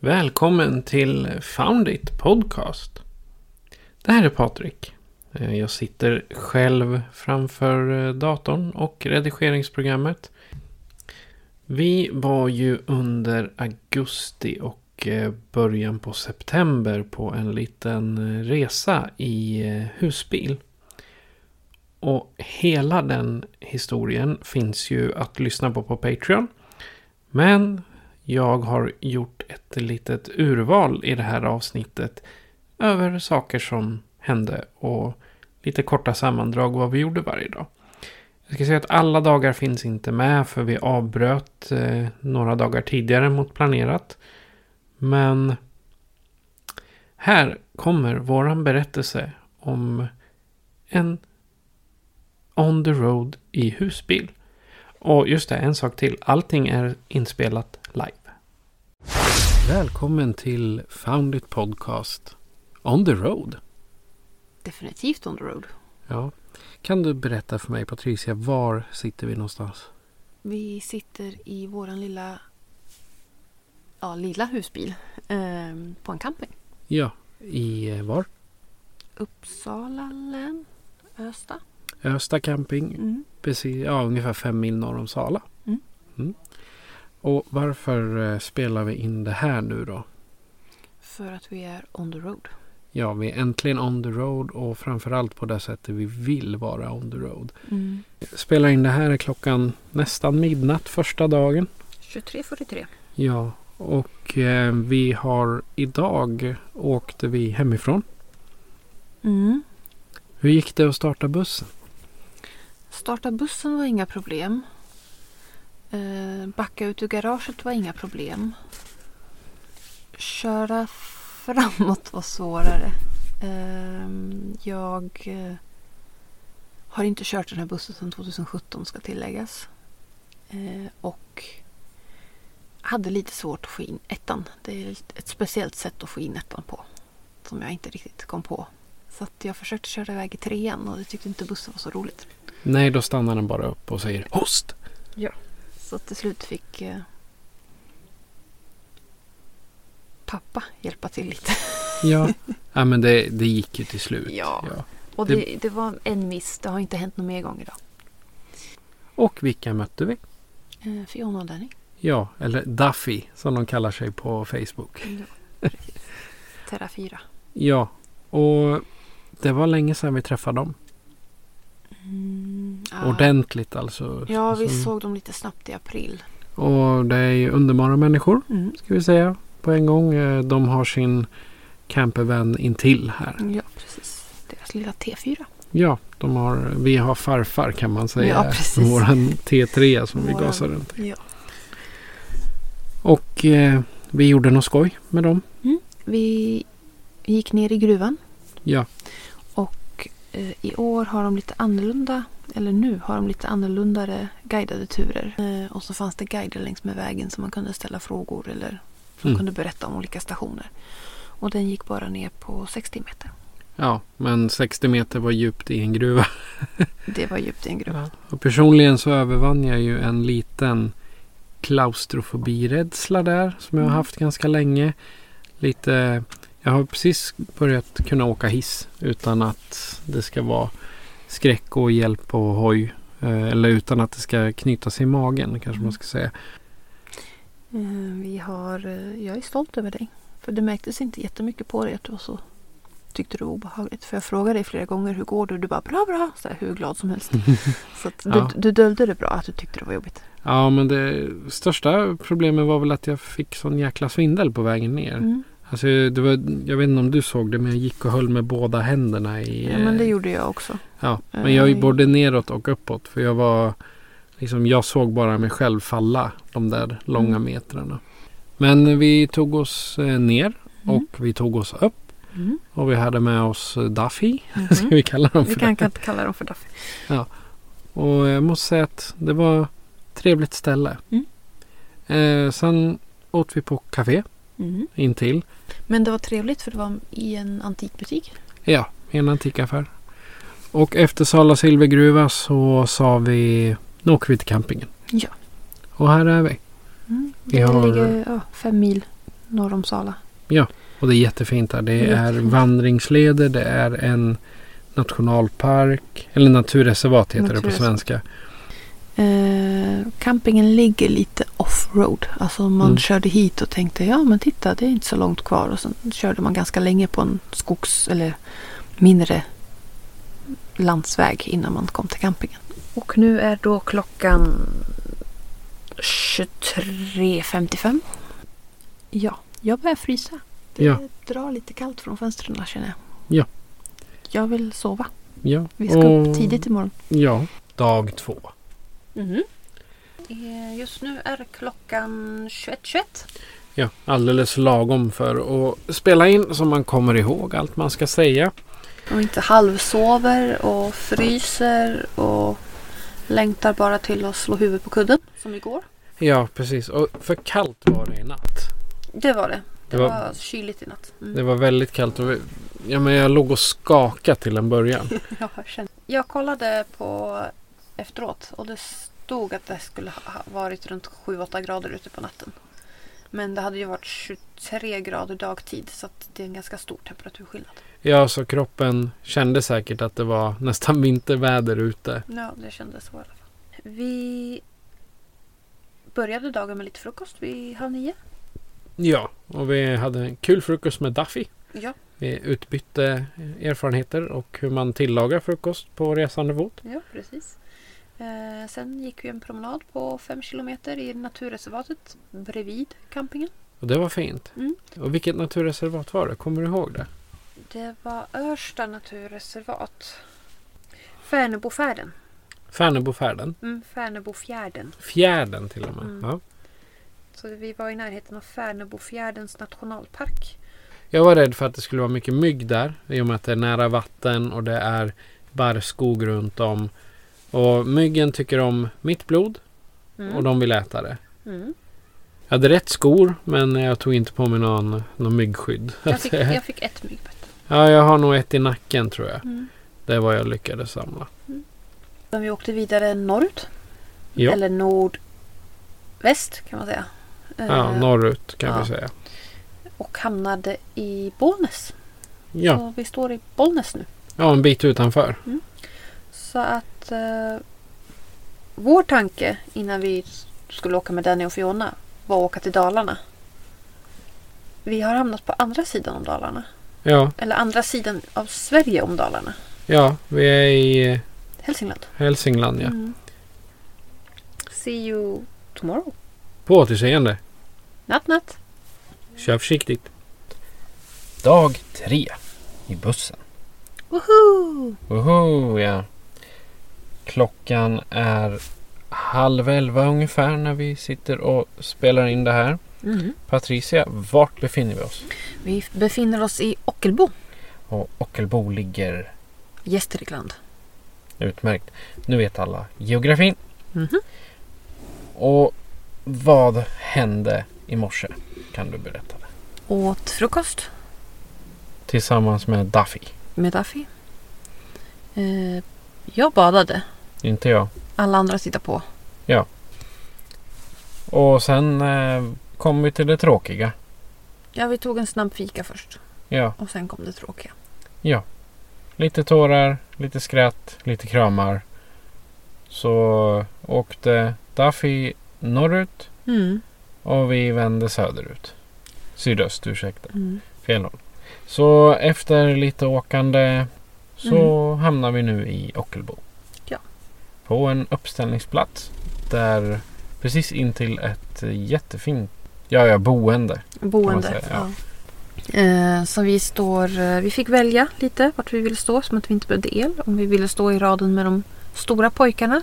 Välkommen till Foundit Podcast. Det här är Patrik. Eh, Jag sitter själv framför eh, datorn och redigeringsprogrammet. Vi var ju under augusti och eh, början på september på en liten eh, resa i eh, husbil. Och hela den historien finns ju att lyssna på på Patreon. Men jag har gjort ett litet urval i det här avsnittet över saker som hände och lite korta sammandrag vad vi gjorde varje dag. Jag ska säga att alla dagar finns inte med för vi avbröt eh, några dagar tidigare mot planerat. Men här kommer våran berättelse om en On the Road i husbil. Och just det, en sak till. Allting är inspelat live. Välkommen till Found It Podcast On the Road. Definitivt on the road. Ja. Kan du berätta för mig Patricia, var sitter vi någonstans? Vi sitter i våran lilla, ja, lilla husbil ehm, på en camping. Ja, i eh, var? Uppsala län, Östa. Östa camping. Mm. Precis, ja, ungefär fem mil norr om Sala. Mm. Mm. Och varför eh, spelar vi in det här nu då? För att vi är on the road. Ja, vi är äntligen on the road och framförallt på det sättet vi vill vara on the road. Mm. Spelar in det här är klockan nästan midnatt första dagen. 23.43. Ja, och eh, vi har idag åkte vi hemifrån. Mm. Hur gick det att starta bussen? Starta bussen var inga problem. Eh, backa ut ur garaget var inga problem. Köra framåt var svårare. Eh, jag eh, har inte kört den här bussen sedan 2017 ska tilläggas. Eh, och hade lite svårt att få in ettan. Det är ett speciellt sätt att få in ettan på. Som jag inte riktigt kom på. Så att jag försökte köra iväg i trean och det tyckte inte bussen var så roligt. Nej, då stannar den bara upp och säger host. Så till slut fick eh, pappa hjälpa till lite. Ja, ja men det, det gick ju till slut. Ja. Ja. Och Det- det, det var en miss. Det har inte hänt någon mer gång idag. Och vilka mötte vi? Eh, Fiona och Danny. Ja, eller Duffy som de kallar sig på Facebook. Mm, Terra 4. Ja, och det var länge sedan vi träffade dem. Mm, ja. Ordentligt alltså. Ja, vi Som- såg dem lite snabbt i april. Och det är ju underbara människor. Mm. ska vi säga på en gång. Eh, De har sin campervan intill här. Ja, precis. Deras lilla T4. Ja, de har, vi har farfar kan man säga. Ja, precis. Våran T3 som vi Våran- gasar runt. i. ja. Och eh, vi gjorde något skoj med dem. Vi gick ner i gruvan. Ja, Och eh, i år har de lite annorlunda, eller nu har de lite annorlunda guidade turer. Eh, och så fanns det guider längs med vägen som man kunde ställa frågor eller som Mm. kunde berätta om olika stationer. Och den gick bara ner på 60 meter. ja, men 60 meter var djupt i en gruva. Det var djupt i en gruva. Och personligen så övervann jag ju en liten klaustrofobirädsla där som jag har Mm. haft ganska länge. Lite, jag har precis börjat kunna åka hiss utan att det ska vara skräck och hjälp och hoj. Eh, Eller utan att det ska knytas i Mm. magen kanske man ska säga. Eh, vi har, eh, jag är stolt över dig. För det märktes inte jättemycket på dig att du var så tyckte du var obehagligt. För jag frågade dig flera gånger hur går det? Du bara bra bra. Så här, hur glad som helst. Så att du, Ja. du döljde det bra att du tyckte det var jobbigt. Ja, men det största problemet var väl att jag fick sån jäkla svindel på vägen ner. Mm. Alltså, det var, jag vet inte om du såg det, men jag gick och höll med båda händerna i... Ja, men det eh, gjorde jag också. ja, men jag eh, gick både neråt och uppåt. För jag var... Liksom, jag såg bara mig själv falla de där långa Mm. metrarna. Men vi tog oss eh, ner Mm. och vi tog oss upp. Mm. Och vi hade med oss Duffy. Ska Mhm. vi kalla dem Vi för kan, det? kan inte kalla dem för Duffy. Och jag måste säga att det var ett trevligt ställe. Mm. Eh, sen åt vi på café Mm. intill. Men det var trevligt för det var i en antikbutik. Ja, i en antikaffär. Och efter Sala silvergruva så sa vi nu åker vi till campingen. Ja. Och här är vi. Mm. Vi Den har- ligger ja, fem mil norr om Sala. Och det är jättefint här. Det är Jättefint. vandringsleder, det är en nationalpark. Eller naturreservat heter det på Naturreservat. svenska. Eh, campingen ligger lite offroad. Alltså man Mm. körde hit och tänkte ja men titta det är inte så långt kvar. Och sen körde man ganska länge på en skogs eller mindre landsväg innan man kom till campingen. Och nu är då klockan 23.55. Ja, jag börjar frysa. Det Ja. drar lite kallt från fönstren känner jag. Ja. Jag vill sova. Ja. Vi ska upp och- tidigt imorgon. Ja. Dag två. Mm-hmm. Eh, Just nu är klockan 21.21. Ja, alldeles lagom för att spela in så man kommer ihåg allt man ska säga. De inte halvsover och fryser och längtar bara till att slå huvudet på kudden. Som igår. Ja, precis. Och för kallt var det i natt. Det var det. Det Det var- var, kyligt i natt. Mm. Det var väldigt kallt och vi, ja, men jag låg och skakade till en början. Jag, har känt. jag kollade på efteråt och det stod att det skulle ha varit runt 7-8 grader ute på natten. Men det hade ju varit 23 grader dagtid så att det är en ganska stor temperaturskillnad. Ja, så kroppen kände säkert att det var nästan vinterväder ute. Ja, det kändes så i alla fall. Vi började dagen med lite frukost vid halv nio. Ja, och vi hade en kul frukost med Duffy. Ja. Vi utbytte erfarenheter och hur man tillagar frukost på resande fot. Ja, precis. Eh, sen gick vi en promenad på fem kilometer i naturreservatet bredvid campingen. Och det var fint. Mm. Och vilket naturreservat var det? Kommer du ihåg det? Det var Örsta naturreservat. Färnebofärden. Färnebofärden. Mm, Färnebofjärden. Fjärden till och med. Mm. Ja. Så vi var i närheten av Färnebofjärdens nationalpark. Jag var rädd för att det skulle vara mycket mygg där. I och med att det är nära vatten och det är barrskog runt om. Och myggen tycker om mitt blod Mm. och de vill äta det. Mm. Jag hade rätt skor men jag tog inte på mig någon, någon myggskydd. Jag, fick, jag fick ett myggbett. ja, jag har nog ett i nacken tror jag. Mm. Det är vad jag lyckades samla. Sen Vi åkte vidare norrut. Ja, Eller nordväst kan man säga. ja Eh, norrut kan ja. vi säga. och hamnade i Bollnäs. Ja. Så vi står i Bollnäs nu. ja, en bit utanför. Så att eh, vår tanke innan vi skulle åka med Danny och Fiona var att åka till Dalarna. Vi har hamnat på andra sidan om Dalarna. Ja, Eller andra sidan av Sverige om Dalarna. ja vi är i eh, Hälsingland. Hälsingland. Ja. Mm. See you tomorrow. På återseende. Natt natt. Kör försiktigt. Dag tre i bussen. Woohoo! Woho, ja. Klockan är halv elva ungefär när vi sitter och spelar in det här. Patricia, vart befinner vi oss? Vi befinner oss i Ockelbo, Och Ockelbo ligger Gästrikland. utmärkt. Nu vet alla geografin. Mhm. Och vad hände i morse? Kan du berätta? det? Åt frukost Tillsammans med Duffy. med Duffy. Eh, jag badade. Inte jag. Alla andra tittade på. Och sen eh, kom vi till det tråkiga. Ja, vi tog en snabb fika först Ja, och sen kom det tråkiga. lite tårar, lite skratt, lite kramar. Så Mm. Mm. åkte Duffy norrut och vi vände söderut. Sydöst, ursäkta. Mm. Fel håll. Så efter lite åkande så hamnar vi nu i Ockelbo. Ja. På en uppställningsplats där precis intill ett jättefint ja, ja, boende. Boende. Kan man säga, ja. ja. Eh, så vi står, eh, vi fick välja lite vart vi ville stå som att vi inte behövde el. Om vi ville stå i raden med de stora pojkarna.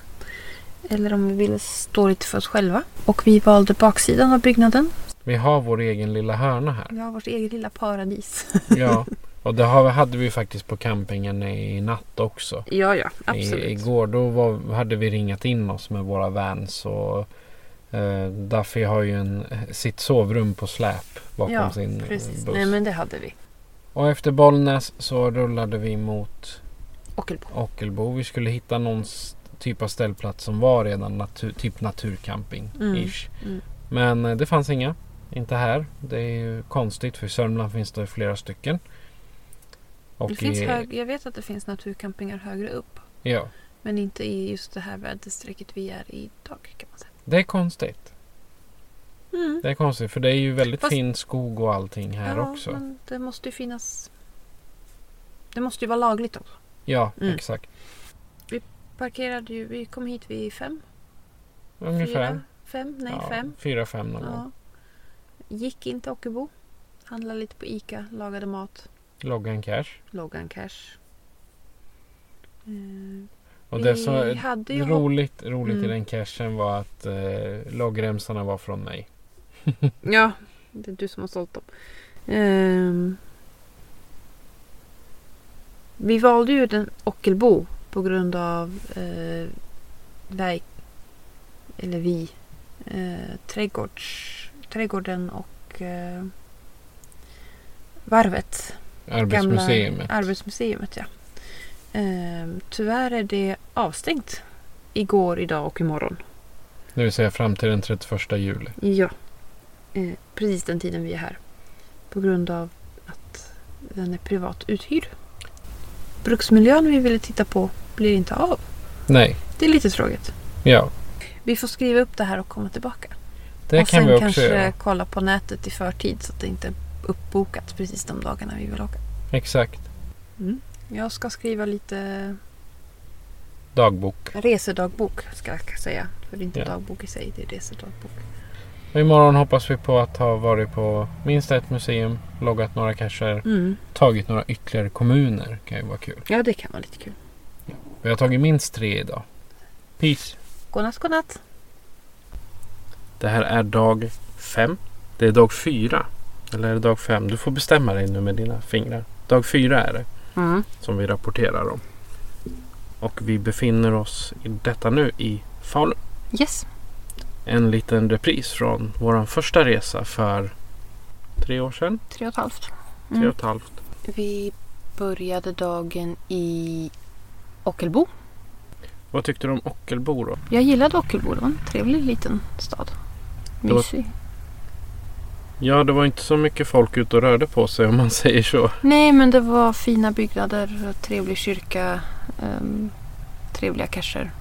Eller om vi ville stå lite för oss själva. Och vi valde baksidan av byggnaden. Vi har vår egen lilla hörna här. Vi har vårt eget lilla paradis. Ja. Och det har, hade vi faktiskt på campingen i natt också. ja, ja, absolut. I, igår då var, hade vi ringat in oss med våra vans och eh, Duffy har ju en, sitt sovrum på släp bakom Ja, sin eh, Precis. buss. Nej men det hade vi. Och efter Bollnäs så rullade vi mot Ockelbo. Ockelbo. Vi skulle hitta någon s- typ av ställplats som var redan natur, typ naturcamping. Mm, Ish. mm. Men eh, det fanns inga. Inte här. Det är ju konstigt för i Sörmland finns det flera stycken. Och Det finns i- hög, jag vet att det finns naturcampingar högre upp. Ja, Men inte i just det här väderstrecket vi är i idag kan man säga. det är konstigt. Mm. Det är konstigt för det är ju väldigt Fast- fin skog och allting här ja, också. men det måste ju finnas... Det måste ju vara lagligt också. Ja, Mm. exakt. Parkerade ju, vi kom hit vid fem. Ungefär. Fyra, fem, nej ja, fem. Fyra, fem någon gång. Ja. Gick in till Ockelbo. Handlade lite på Ica, lagade mat, Loggan cash. loggan cash. Eh, Och vi det som, hade ju hopp- Roligt, roligt i Mm. den cashen var att eh, loggremsarna var från mig. Ja, det är du som har sålt dem. Ehm, vi valde ju den Ockelbo på grund av eh, verk, eller vi, eh, trädgårds, trädgården och eh, varvet. Arbetsmuseet. Gamla arbetsmuseet ja. Ehm, tyvärr är det avstängt igår, idag och imorgon. Det vill säga fram till den 31 juli. Ja, eh, precis den tiden vi är här. På grund av att den är privat uthyrd. Bruksmiljön vi ville titta på blir inte av. Nej, Det är lite tråkigt. ja. Vi får skriva upp det här och komma tillbaka. Det och kan sen vi också kanske göra. kolla på nätet i förtid så att det inte är uppbokat precis de dagarna vi vill åka. Exakt. Jag ska skriva lite Dagbok. resedagbok ska jag säga. För det är inte Ja. dagbok i sig, det är resedagbok. Och imorgon hoppas vi på att ha varit på minst ett museum, loggat några cacher, tagit några ytterligare kommuner. kan ju vara kul. Mm. Ja, det kan vara lite kul. Vi har tagit minst tre idag. Peace! Godnatt, godnatt! Det här är dag fem. Det är dag fyra. Eller är det dag fem? Du får bestämma dig nu med dina fingrar. Dag fyra är det. som vi rapporterar om. Och vi befinner oss i detta nu i Falun. Yes. En liten repris från vår första resa för tre år sedan. Tre och ett halvt. Tre och ett halvt. Vi började dagen i Ockelbo. Vad tyckte du om Ockelbo då? Jag gillade Ockelbo. Det var en trevlig liten stad. Det var- Mysig. Ja, det var inte så mycket folk ute och rörde på sig om man säger så. Nej, men det var fina byggnader, trevlig kyrka, ehm, trevliga cacher.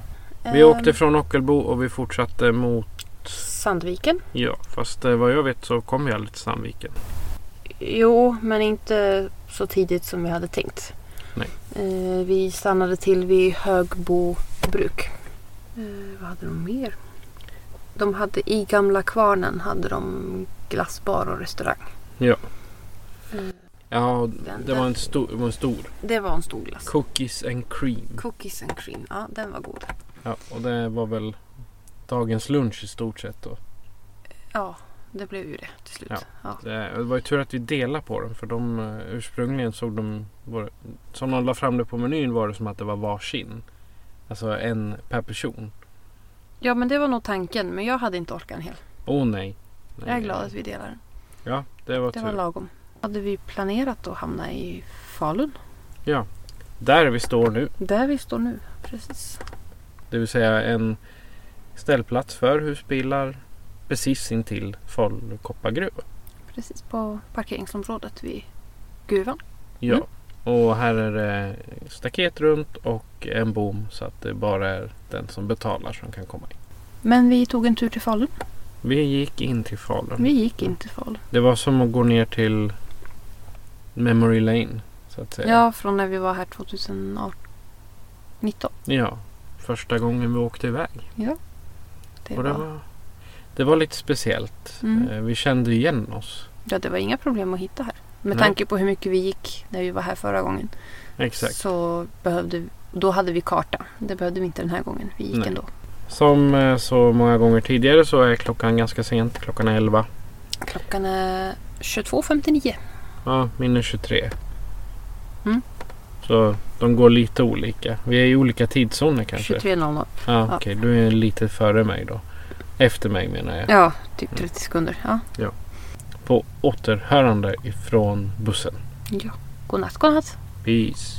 Vi Ehm, åkte från Ockelbo och vi fortsatte mot Sandviken. Ja, fast eh, vad jag vet så kom vi aldrig till Sandviken. Jo, men inte så tidigt som vi hade tänkt. Nej. Eh, vi stannade till vid Högbo bruk. Eh, vad hade de mer? De hade i Gamla Kvarnen hade de glassbar och restaurang. Ja, och Den det där. var en stor, det var en stor. Det var en stor glass. Cookies and cream. Cookies and cream. Ja, den var god. Ja, och det var väl dagens lunch i stort sett då. Ja, det blev ju det till slut. Ja. Ja. Det det var ju tur att vi delade på dem för de eh, ursprungligen såg de, var- som de la fram det på menyn var det som att det var varsin. Alltså en per person. Ja, men det var nog tanken. Men jag hade inte orkat en hel. Åh oh, nej. nej. Jag är glad att vi delar den. Ja, det var Det tur. var lagom. Hade vi planerat att hamna i Falun? Där vi står nu, Där vi står nu. Precis. det vill säga en ställplats för husbilar precis intill Falu koppargruva. Precis på parkeringsområdet vid gruvan. Ja. Mm. Och här är det staket runt och en bom så att det bara är den som betalar som kan komma in. Men vi tog en tur till Falun. Vi gick in till Falun. Vi gick in till Falun. Det var som att gå ner till Memory Lane. Så att säga. Ja, från när vi var här 2019. ja. Första gången vi åkte iväg. Det Och det, var, var, det var lite speciellt. Mm. Eh, Vi kände igen oss. ja, det var inga problem att hitta här. Med Nej. tanke på hur mycket vi gick när vi var här förra gången. Exakt. Så behövde, då hade vi karta. Det behövde vi inte den här gången. Vi gick Nej. ändå. Som eh, så många gånger tidigare så är klockan ganska sent. Klockan är 11. Klockan är 22.59. Ja, min är 23. Mm. Så de går lite olika. Vi är i olika tidszoner kanske. 23.00. Ja, Ja. Okej, du är lite före mig då. Efter mig menar jag. Ja, typ Mm. 30 sekunder. Ja. På återhörande ifrån bussen. Godnatt, godnatt. Peace.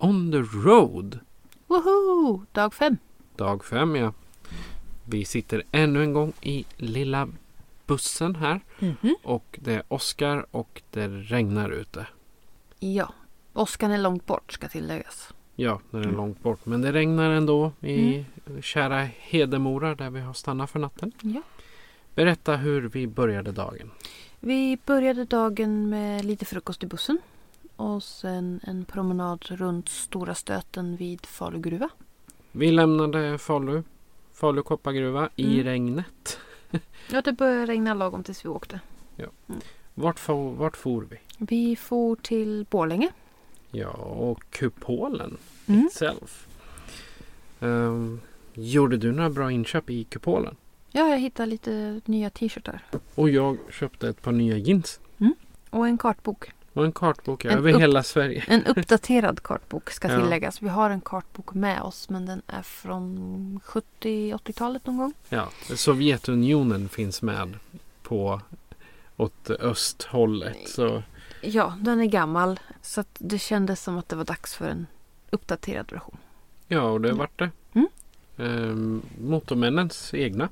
On the road. Woho! Dag fem. Dag fem ja. Vi sitter ännu en gång i lilla bussen här. Och det är Oskar och det regnar ute. Ja. Oskar är långt bort ska tilläggas. Ja, när det är Mm. långt bort. Men det regnar ändå i kära Hedemora där vi har stannat för natten. Ja. Berätta hur vi började dagen. Vi började dagen med lite frukost i bussen. Och sen en promenad runt Stora stöten vid Falugruva. Vi lämnade Falu, Falu koppargruva i Mm. regnet. Ja, det började regna lagom tills vi åkte. Vart, fo- vart for vi? Vi for till Borlänge. Ja, och kupolen Mm. itself. Ehm, gjorde du några bra inköp i kupolen? Ja, jag hittade lite nya t-shirtar. Och jag köpte ett par nya jeans. Och en kartbok. Och en kartbok En över upp- hela Sverige. En uppdaterad kartbok ska Ja. tilläggas. Vi har en kartbok med oss men den är från 70-80-talet någon gång. Ja, Sovjetunionen finns med på åt östhållet. Så Ja, den är gammal så att det kändes som att det var dags för en uppdaterad version. ja, och det vart det. Mm. Ehm, motormännens egna.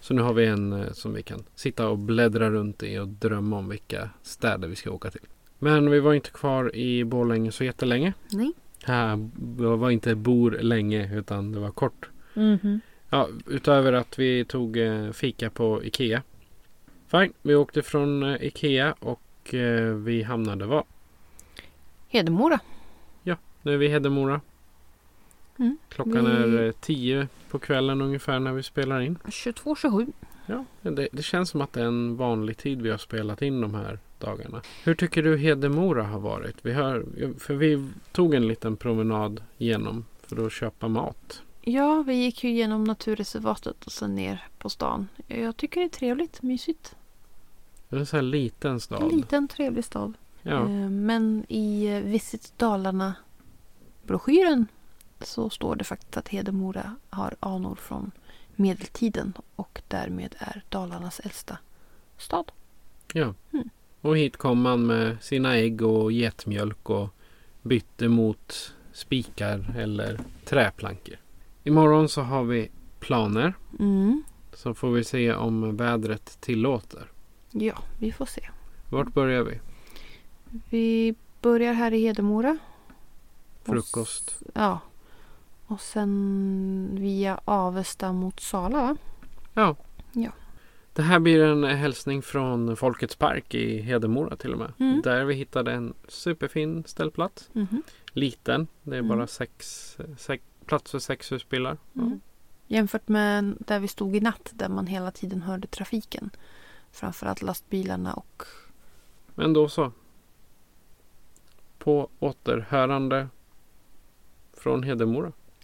Så nu har vi en eh, som vi kan sitta och bläddra runt i och drömma om vilka städer vi ska åka till. Men vi var inte kvar i Borlänge så jättelänge. Nej. Här var inte bor länge utan det var kort. Mhm. Ja, utöver att vi tog eh, fika på Ikea. Fine, vi åkte från eh, Ikea och eh, vi hamnade var? Hedemora. Nu är vi i Hedemora. Mm. Klockan Vi- är eh, tio på kvällen ungefär när vi spelar in. 22-27. Ja, det, det känns som att det är en vanlig tid vi har spelat in de här dagarna. Hur tycker du Hedemora har varit? Vi har, för vi tog en liten promenad genom för att köpa mat. Ja, vi gick ju genom naturreservatet och sen ner på stan. Jag tycker det är trevligt, mysigt. Det är en sån här liten En stad. liten trevlig stad. Ja. Eh, Men i eh, Visit Dalarna-broschyren så står det faktiskt att Hedemora har anor från medeltiden och därmed är Dalarnas äldsta stad. Och hit kom man med sina ägg och getmjölk och bytte mot spikar eller träplankor. Imorgon så har vi planer. Mm. Så får vi se om vädret tillåter. Ja, vi får se. Vart börjar vi? Vi börjar här i Hedemora. Frukost. Och, s- ja. Och sen mm, via Avesta mot Sala, va? Ja. Ja. Det här blir en hälsning från Folkets park i Hedemora till och med. Mm. Där vi hittade en superfin ställplats. Mhm. Liten. Det är Mm. bara sex, sex, plats för sex husbilar. Mm. Jämfört med där vi stod i natt där man hela tiden hörde trafiken. Framförallt lastbilarna och Men då så. På återhörande från Hedemora.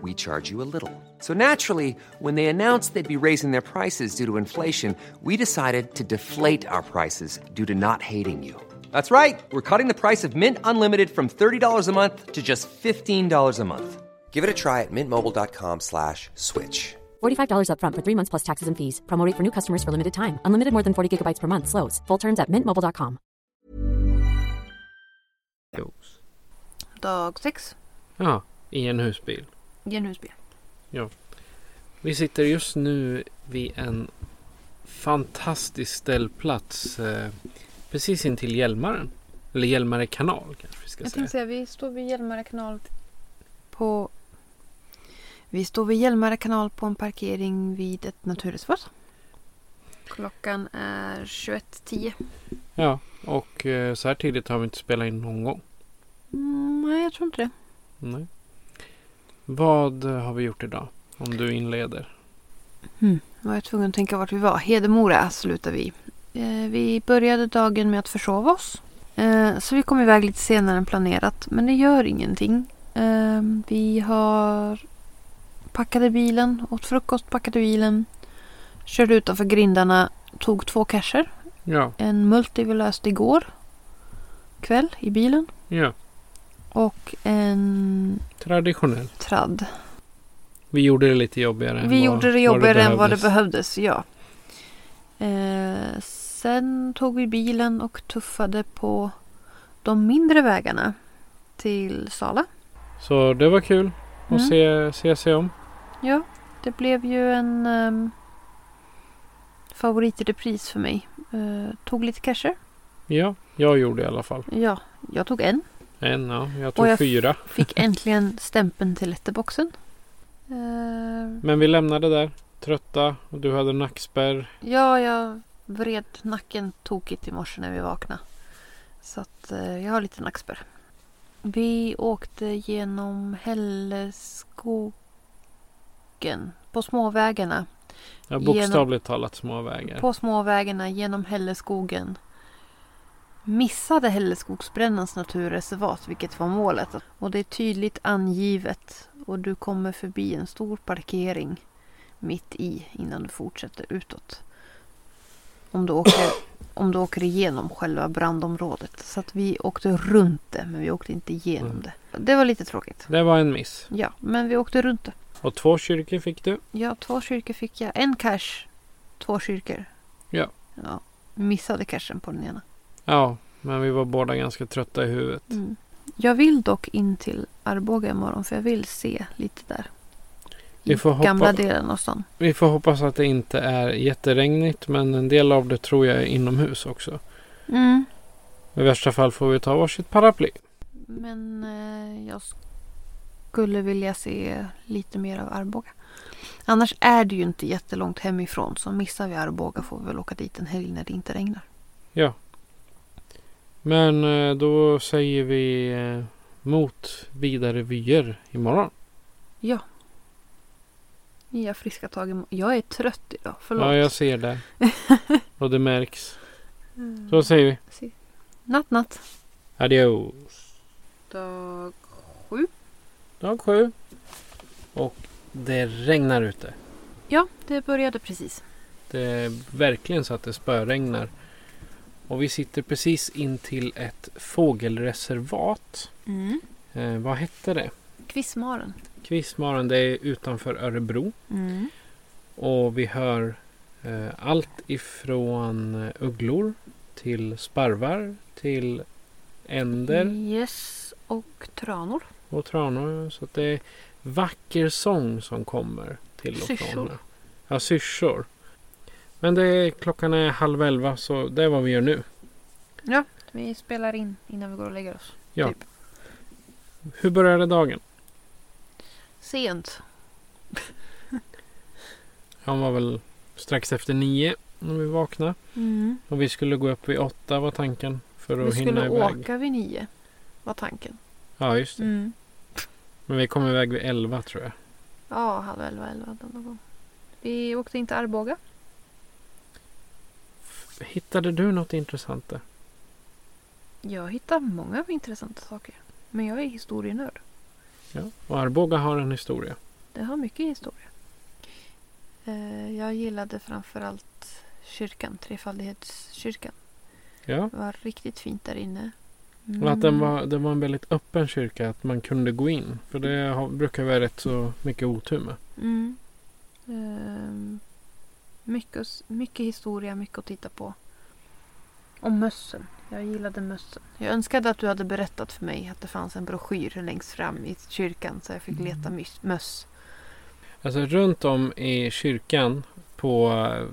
we charge you a little. So naturally, when they announced they'd be raising their prices due to inflation, we decided to deflate our prices due to not hating you. That's right. We're cutting the price of Mint Unlimited from $30 a month to just $15 a month. Give it a try at mintmobile.com slash switch. $45 upfront for three months plus taxes and fees. Promo rate for new customers for limited time. Unlimited more than 40 gigabytes per month. Slows. Full terms at mintmobile.com. Dag sex. Ja, i en husbil. Genhusby. Vi sitter just nu vid en fantastisk ställplats eh, precis intill Hjälmaren. Eller Hjälmare kanal kanske vi ska Jag säga. tänkte säga, vi står vid Hjälmare kanal på... Vi står vid Hjälmare kanal på en parkering vid ett naturreservat. Klockan är 21.10. Ja, och eh, så här tidigt har vi inte spelat in någon gång. Mm, nej, jag tror inte det. Nej. Vad eh, har vi gjort idag? Om du inleder. Jag var tvungen att tänka vart vi var. Hedemora slutar vi. Eh, Vi började dagen med att försova oss. Eh, Så vi kom iväg lite senare än planerat. Men det gör ingenting. Eh, Vi har packade bilen, åt frukost, packade bilen. Körde utanför grindarna, tog två cacher. Ja, En multi vi löste igår kväll i bilen. ja. Och en Traditionell. tradd. Vi gjorde det lite jobbigare än Vi vad- gjorde Eh, det vad jobbigare än vad det behövdes. behövdes, ja. Eh, sen tog vi bilen och tuffade på de mindre vägarna till Sala. Så det var kul att Mm. se, se sig om. Ja, det blev ju en um, favorit i repris för mig. Eh, tog lite cacher. Ja, jag gjorde i alla fall. Ja, jag tog en. En, ja. Jag tog Och jag- fyra. Fick äntligen stämpeln till letterboxen. Eh, Men vi lämnade där. Trötta och du hade nackspärr. Ja, jag vred nacken tokigt i morse när vi vaknade. Så att eh, jag har lite nackspärr. Vi åkte genom Hälleskogen. På småvägarna. Ja, Genom- bokstavligt talat små vägar. På småvägarna genom Hälleskogen. Missade Hälleskogsbrännans naturreservat, vilket var målet. Och det är tydligt angivet. Och du kommer förbi en stor parkering mitt i innan du fortsätter utåt. Om du åker, om du åker igenom själva brandområdet. Så att vi åkte runt det, men vi åkte inte igenom Mm. det. Det var lite tråkigt. Det var en miss. Ja, men vi åkte runt det. Och två kyrkor fick du. Ja, två kyrkor fick jag. En cash, två kyrkor. Ja. ja. Missade cashen på den ena. Ja, men vi var båda ganska trötta i huvudet. Mm. Jag vill dock in till Arboga imorgon för jag vill se lite där. Vi får, Gamla hoppa, delen av stan. vi får hoppas att det inte är jätteregnigt. Men en del av det tror jag är inomhus också. Mm. I värsta fall får vi ta varsitt paraply. Men eh, jag skulle vilja se lite mer av Arboga. Annars är det ju inte jättelångt hemifrån så missar vi Arboga får vi väl åka dit en helg när det inte regnar. Men eh, då säger vi eh, mot vidare vyer imorgon. Ja, friska tag imorgon. Jag är trött idag, förlåt. Ja, jag ser det. Och det märks. Mm. Så säger vi. Natt, natt. Adios. Dag Dag sju. Och det regnar ute. Ja, det började precis. Det är verkligen så att det spöregnar. Och vi sitter precis in till ett fågelreservat. Mm. Eh, vad hette det? Kvissmaren. Kvistmaren, det är utanför Örebro. Mm. Och vi hör eh, allt ifrån eh, ugglor till sparvar till Mm. änder Yes, och tranor. och tranor. Så att det är vacker sång som kommer till och från. Syrsor. här. Ja, syrsor. Men det är, klockan är halv elva så det är vad vi gör nu. Vi spelar in innan vi går och lägger oss. Ja. Typ. Hur började dagen? Sent. Han var väl strax efter nio när vi vaknade. Mm. Och vi skulle gå upp vid åtta var tanken. För att Vi hinna skulle iväg. åka Mm. vid nio, var tanken. Ja, just det. Men vi kom iväg vid elva tror jag. Ja, halv elva, elva någon gång. Vi åkte inte Arboga. F- Hittade du något intressant där? Jag hittar många intressanta saker. Men jag är historienörd. Ja. Och Arboga har en historia. Det har mycket historia. Eh, Jag gillade framförallt kyrkan, trefaldighetskyrkan. Ja. Det var riktigt fint där inne. Och att den Mm. var, den var en väldigt öppen kyrka, att man kunde gå in. För det har, brukar vi ha rätt så mycket otur med. Mm. Ehm, mycket, att s- mycket historia, mycket att titta på. Och mössen. Jag gillade mössen. Jag önskade att du hade berättat för mig att det fanns en broschyr längst fram i kyrkan så jag Mm. fick leta mys- möss. Alltså runt om i kyrkan på, eh,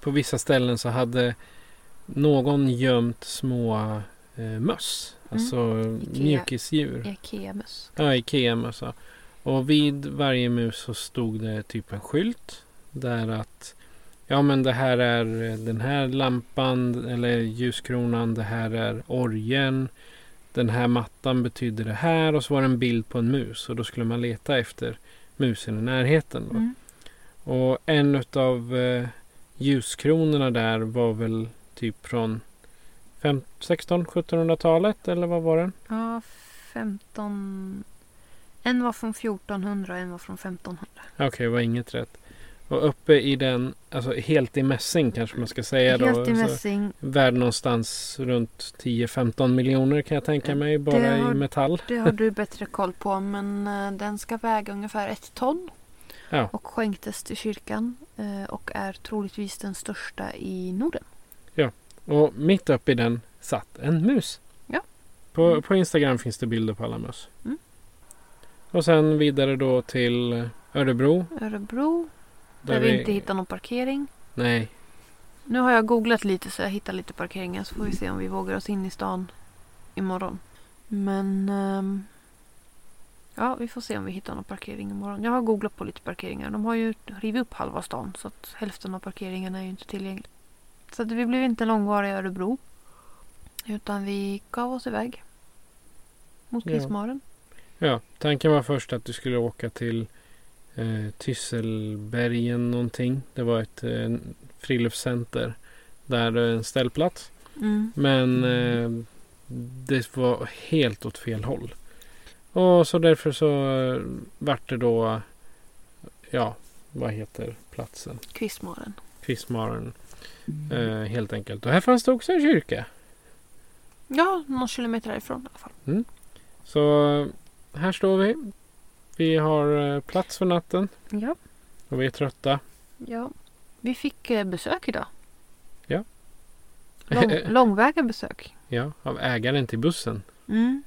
på vissa ställen så hade någon gömt små eh, möss. Alltså Mm. Ikea. mjukisdjur. Ikea-möss. Ja, Ikea-mössa. Och vid varje mus så stod det typ en skylt. Där att ja men det här är eh, den här lampan eller ljuskronan. Det här är orgeln. Den här mattan betyder det här. Och så var det en bild på en mus. Och då skulle man leta efter musen i närheten. Då. Mm. Och en av eh, ljuskronorna där var väl typ från 1600-1700-talet eller vad var den? Ja, 15... En var från 1400 och en var från 1500. Okej, det var inget rätt. Och uppe i den, alltså helt i mässing kanske man ska säga då. Helt i alltså, mässing. värd någonstans runt 10-15 miljoner kan jag tänka mig bara har- i metall. Det har du bättre koll på men eh, den ska väga ungefär ett ton. Ja. Och skänktes till kyrkan eh, och är troligtvis den största i Norden. Och mitt uppe i den satt en mus. Ja. På, Mm. på Instagram finns det bilder på alla möss. Mm. Och sen vidare då till Örebro. Örebro, där, vi inte hittar någon parkering. Nej, Nu har jag googlat lite så jag hittar lite parkeringar så får vi se om vi vågar oss in i stan imorgon. Men... ehm, ja, vi får se om vi hittar någon parkering imorgon. Jag har googlat på lite parkeringar. De har ju rivit upp halva stan så att hälften av parkeringarna är ju inte tillgängliga. Så att vi blev inte långvariga i Örebro. Utan vi gav oss iväg. Mot Ja. Pissmaren. Ja, tanken var först att du skulle åka till eh, Tysselbergen någonting. Det var ett eh, friluftscenter där eh, en ställplats. Mm. Men eh, det var helt åt fel håll. Och så därför så eh, vart det då, ja, vad heter platsen? Kvissmaren. Kvistmaren. Eh, helt enkelt. Och här fanns det också en kyrka. Ja, någon kilometer därifrån i alla fall. Så eh, här står vi. Vi har eh, plats för natten Ja. och vi är trötta. ja. Vi fick eh, besök idag. Ja. Lång, långväga besök. Ja, av ägaren till bussen. Mm.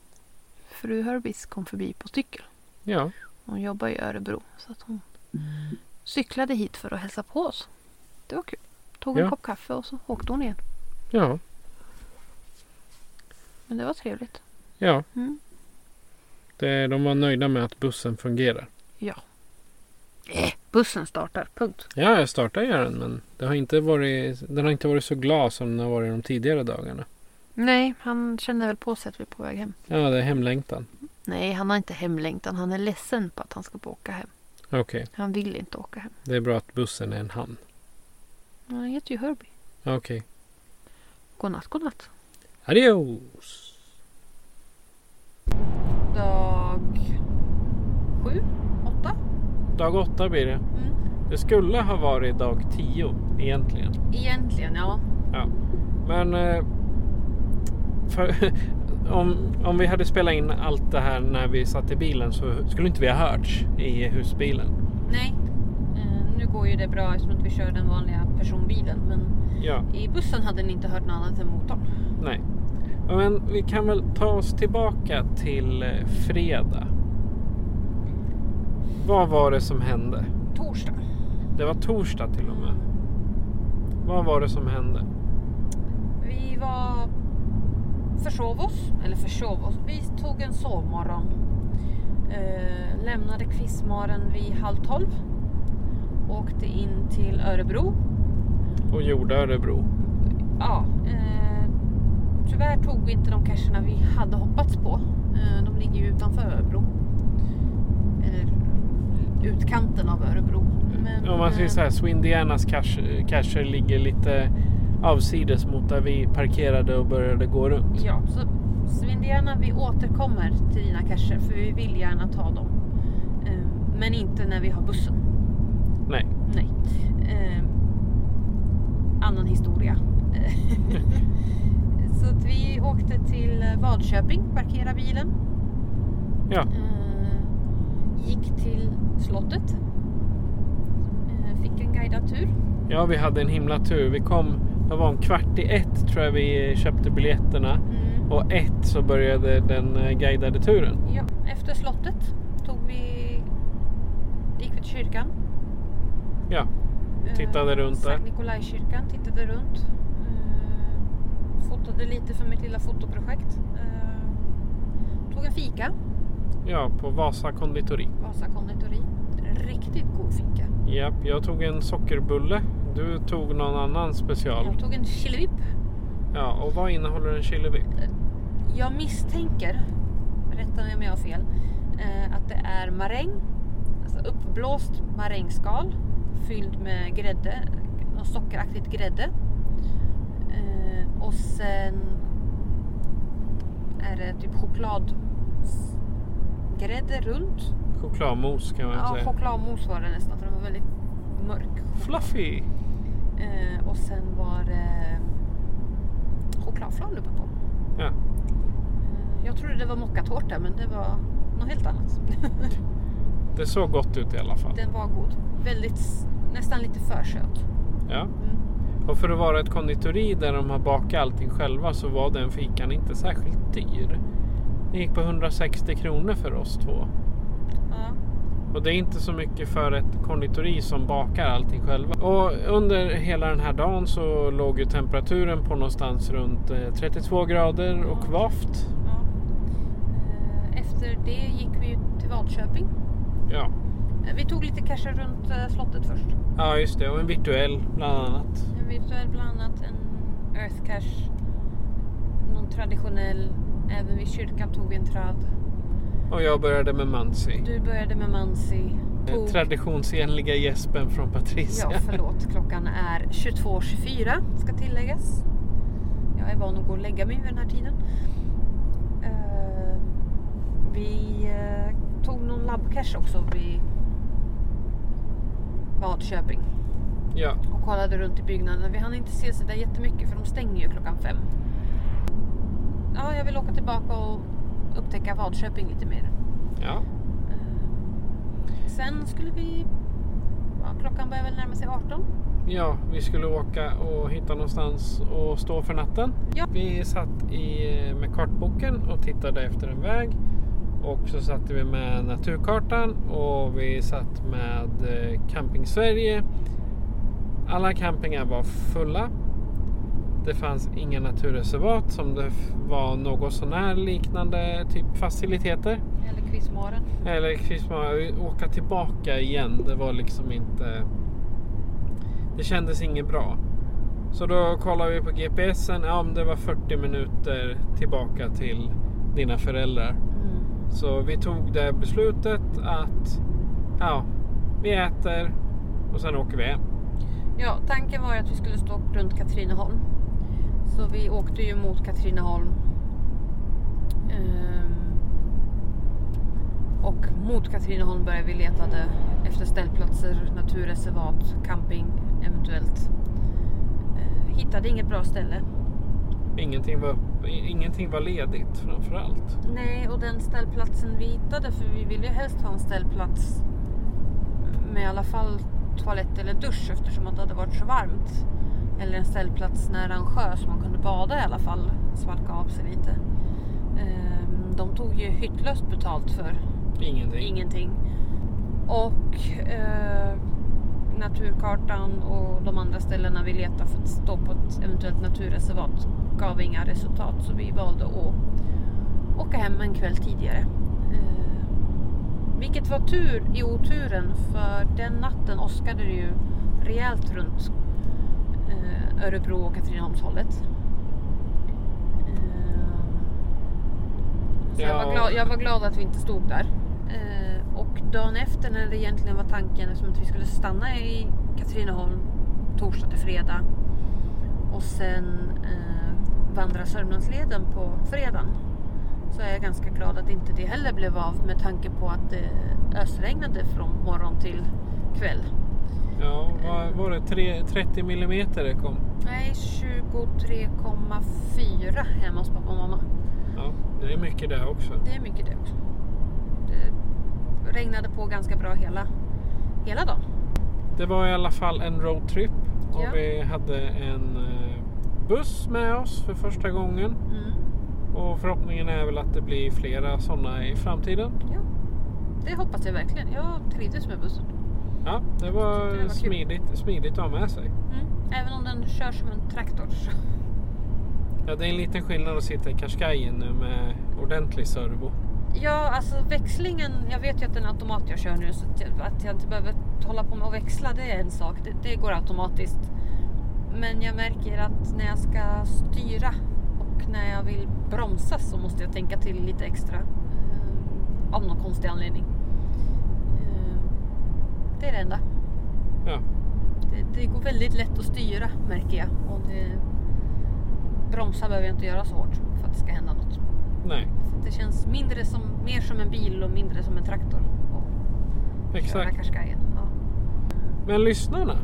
Fru Hörbis kom förbi på cykel. Ja, Hon jobbar i Örebro. Så att hon Mm. cyklade hit för att hälsa på oss. Det var kul. Tog en Ja. kopp kaffe och så åkte hon igen. ja, Men det var trevligt. ja. Mm. Det, de var nöjda med att bussen fungerar. Bussen startar, punkt. Ja, jag startade göra den men det har inte varit, den har inte varit så glad som den har varit de tidigare dagarna. Nej, han känner väl på sig att vi är på väg hem. Ja, det är hemlängtan. Nej, han har inte hemlängtan. Han är ledsen på att han ska få åka hem. Okej, Han vill inte åka hem. det är bra att bussen är en hamn. Han heter ju Hörby. Okej. Godnatt, godnatt. Adios! Dag sju, åtta. Dag åtta blir det. Det skulle ha varit dag tio egentligen. Egentligen, ja. Men eh, för, om, om vi hade spelat in allt det här när vi satt i bilen så skulle inte vi ha hörts i husbilen. Nej. Eh, Nu går ju det bra eftersom att vi kör den vanliga personbilen. Men Ja, i bussen hade ni inte hört något annat än motorn. nej. Ja, Men vi kan väl ta oss tillbaka till eh, fredag. Vad var det som hände? Torsdag. Det var torsdag till och med. Vad var det som hände? Vi var... Försov oss. Eller försov oss. Vi tog en sovmorgon. Eh, lämnade Kvissmaren vid halv tolv. Åkte in till Örebro. Och gjorde Örebro. Ja, eh, tyvärr tog vi inte de cacherna vi hade hoppats på. Eh, de ligger ju utanför Örebro. Eller utkanten av Örebro. Men, Mm. Om man säger eh, Mm. så här, Swindianas cash- cacher ligger lite avsides mot där vi parkerade och började gå runt. Ja, så svin gärna vi återkommer till dina cacher för vi vill gärna ta dem. Eh, Men inte när vi har bussen. Nej. Nej. Eh, Annan historia. Eh, Så att vi åkte till Vadköping, parkerade bilen. Ja. Eh, Gick till slottet. Eh, Fick en guidad tur. ja, vi hade en himla tur. Vi kom, det var om kvart i ett tror jag vi köpte biljetterna. Och ett så började den eh, guidade turen. Ja, efter slottet tog vi... Gick vi till kyrkan. Ja, Tittade Eh, runt där. Sankt Nikolajkyrkan, tittade runt. Eh, Fotade lite för mitt lilla fotoprojekt. Eh, Tog en fika, ja på Vasa konditori. Vasa konditori. Riktigt god fika. Japp, jag tog en sockerbulle. Du tog någon annan special. Jag tog en chilivipp. Ja, och vad innehåller en chilivipp? Jag misstänker, rätta mig om jag har fel, eh, att det är maräng. Alltså uppblåst marängskal fylld med grädde, något sockeraktigt grädde. Eh, Och sen är det typ chokladgrädde runt. Chokladmos kan man Ja, säga. chokladmos var det nästan för den var väldigt mörk. Fluffy! Eh, Och sen var det chokladflan uppe på. Ja. Eh, Jag trodde det var mockatårta men det var något helt annat. Det såg gott ut i alla fall. Den var god. Väldigt, s- nästan lite för söt. Ja. Och för att vara ett konditori där de har bakat allting själva så var den fikan inte särskilt dyr. Den gick på 160 kronor för oss två. Ja. Och det är inte så mycket för ett konditori som bakar allting själva. Och under hela den här dagen så låg ju temperaturen på någonstans runt eh, 32 grader och kvavt. Ja. Eh, Efter det gick vi ju till Vadköping. Ja. Eh, Vi tog lite cacher runt eh, slottet först. ja, just det. Och en virtuell bland annat. En virtuell bland annat, en earth cache, någon traditionell. Även vid kyrkan tog vi en tradd. Och jag började med Mansi. Du började med Mansi. Den Tog... Traditionsenliga gäspen från Patricia. Oh. Ja, förlåt. Klockan är 22.24 ska tilläggas. Jag är van att gå och lägga mig vid den här tiden. Eh, vi eh, tog någon labbcash också vid Vadköping ja. och kollade runt i byggnaderna. Vi hann inte se så där jättemycket för de stänger ju klockan fem. Ja, jag vill åka tillbaka och upptäcka Vadköping lite mer. ja. Sen skulle vi... Ja, klockan börjar väl närma sig 18. Ja, vi skulle åka och hitta någonstans och stå för natten. Ja. Vi satt i, eh, med kartboken och tittade efter en väg. Och så satte vi med naturkartan och vi satt med eh, Camping Sverige. Alla campingar var fulla. Det fanns inga naturreservat som det f- var något sånär liknande typ faciliteter. Eller Quizmaren. Eller Christmas, åka tillbaka igen. Det var liksom inte... Det kändes inget bra. Så då kollade vi på GPSen. Ja, om det var 40 minuter tillbaka till dina föräldrar. Så vi tog det beslutet att ja, vi äter och sen åker vi hem. Ja, tanken var ju att vi skulle stå runt Katrineholm. Så vi åkte ju mot Katrineholm. Ehm, och mot Katrineholm började vi leta efter ställplatser, naturreservat, camping eventuellt. Eh, hittade inget bra ställe. Ingenting var, upp- ingenting var ledigt framför allt. Nej, och den ställplatsen vi hittade, för vi ville ju helst ha en ställplats med i alla fall toalett eller dusch eftersom att det hade varit så varmt. Eller en ställplats nära en sjö så man kunde bada i alla fall, svalka av sig lite. Ehm, De tog ju hyttlöst betalt för Ingenting. ingenting. Och eh, naturkartan och de andra ställena vi letade för att stå på ett eventuellt naturreservat gav inga resultat så vi valde att åka hem en kväll tidigare. Eh, vilket var tur i oturen för den natten åskade det ju rejält runt eh, Örebro och Katrineholmshållet. Eh, så jag, var Ja. glad, jag var glad att vi inte stod där. Eh, och dagen efter när det egentligen var liksom tanken eftersom att vi skulle stanna i Katrineholm torsdag till fredag Och sen eh, vandra Sörmlandsleden på fredagen. Så är jag ganska glad att inte det heller blev av med tanke på att det ösregnade från morgon till kväll. Ja, vad var det? Tre, 30 millimeter det kom. Nej, 23,4 hemma hos pappa och mamma. Ja, det är mycket där också. Det är mycket det också. Det regnade på ganska bra hela, hela dagen. Det var i alla fall en roadtrip och Ja. vi hade en eh, buss med oss för första gången. Mm. Och förhoppningen är väl att det blir flera sådana i framtiden. Ja, det hoppas jag verkligen. Jag trivdes med bussen. Ja, det Jag var, tyckte det var kul. smidigt, smidigt att ha med sig. Mm. Även om den kör som en traktor. så- Ja, det är en liten skillnad att sitta i Qashqaien nu med ordentlig servo. Ja, alltså växlingen. Jag vet ju att den automat jag kör nu så att jag, att jag inte behöver hålla på med att växla det är en sak. Det, det går automatiskt. Men jag märker att när jag ska styra och när jag vill bromsa så måste jag tänka till lite extra. Eh, av någon konstig anledning. Eh, det är det enda. Ja, Det, det går väldigt lätt att styra märker jag. Och det, bromsa behöver jag inte göra så hårt för att det ska hända något. nej, Så det känns mindre som, mer som en bil och mindre som en traktor. Och köra exakt. Qashqaien. Ja. Men lyssnarna,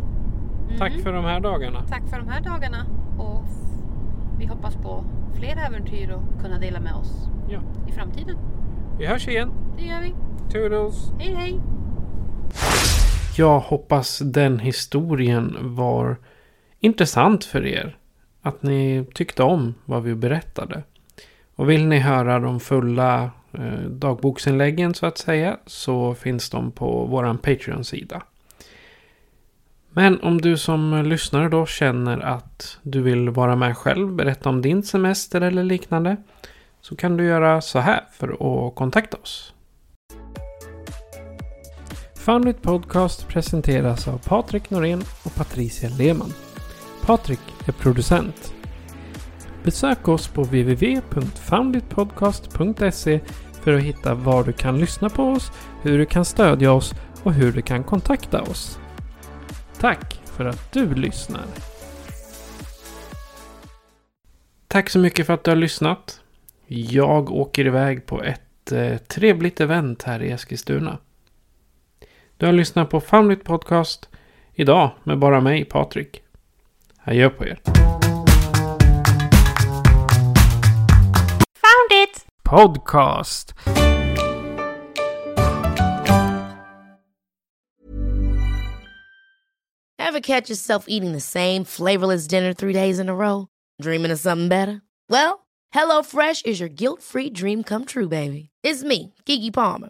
tack Mhm. för de här dagarna. Tack för de här dagarna och vi hoppas på fler äventyr och kunna dela med oss Ja. i framtiden. Vi hörs igen. Det gör vi. Toodles! Hej hej! Jag hoppas den historien var intressant för er. Att ni tyckte om vad vi berättade. Och vill ni höra de fulla eh, dagboksinläggen så att säga så finns de på vår Patreon-sida. Men om du som lyssnare då känner att du vill vara med själv, berätta om din semester eller liknande så kan du göra så här för att kontakta oss. Foundit Podcast presenteras av Patrik Norén och Patricia Lehmann. Patrik är producent. Besök oss på www.founditpodcast.se för att hitta var du kan lyssna på oss, hur du kan stödja oss och hur du kan kontakta oss. Tack för att du lyssnar! Tack så mycket för att du har lyssnat. Jag åker iväg på ett eh, trevligt event här i Eskilstuna. Du har lyssnat på Famlit Podcast idag med bara mig, Patrik. Adjö på er. Found it! Podcast! Ever catch yourself eating the same flavorless dinner three days in a row? Dreaming of something better? Well, HelloFresh is your guilt free dream come true, baby. It's me, Kiki Palmer.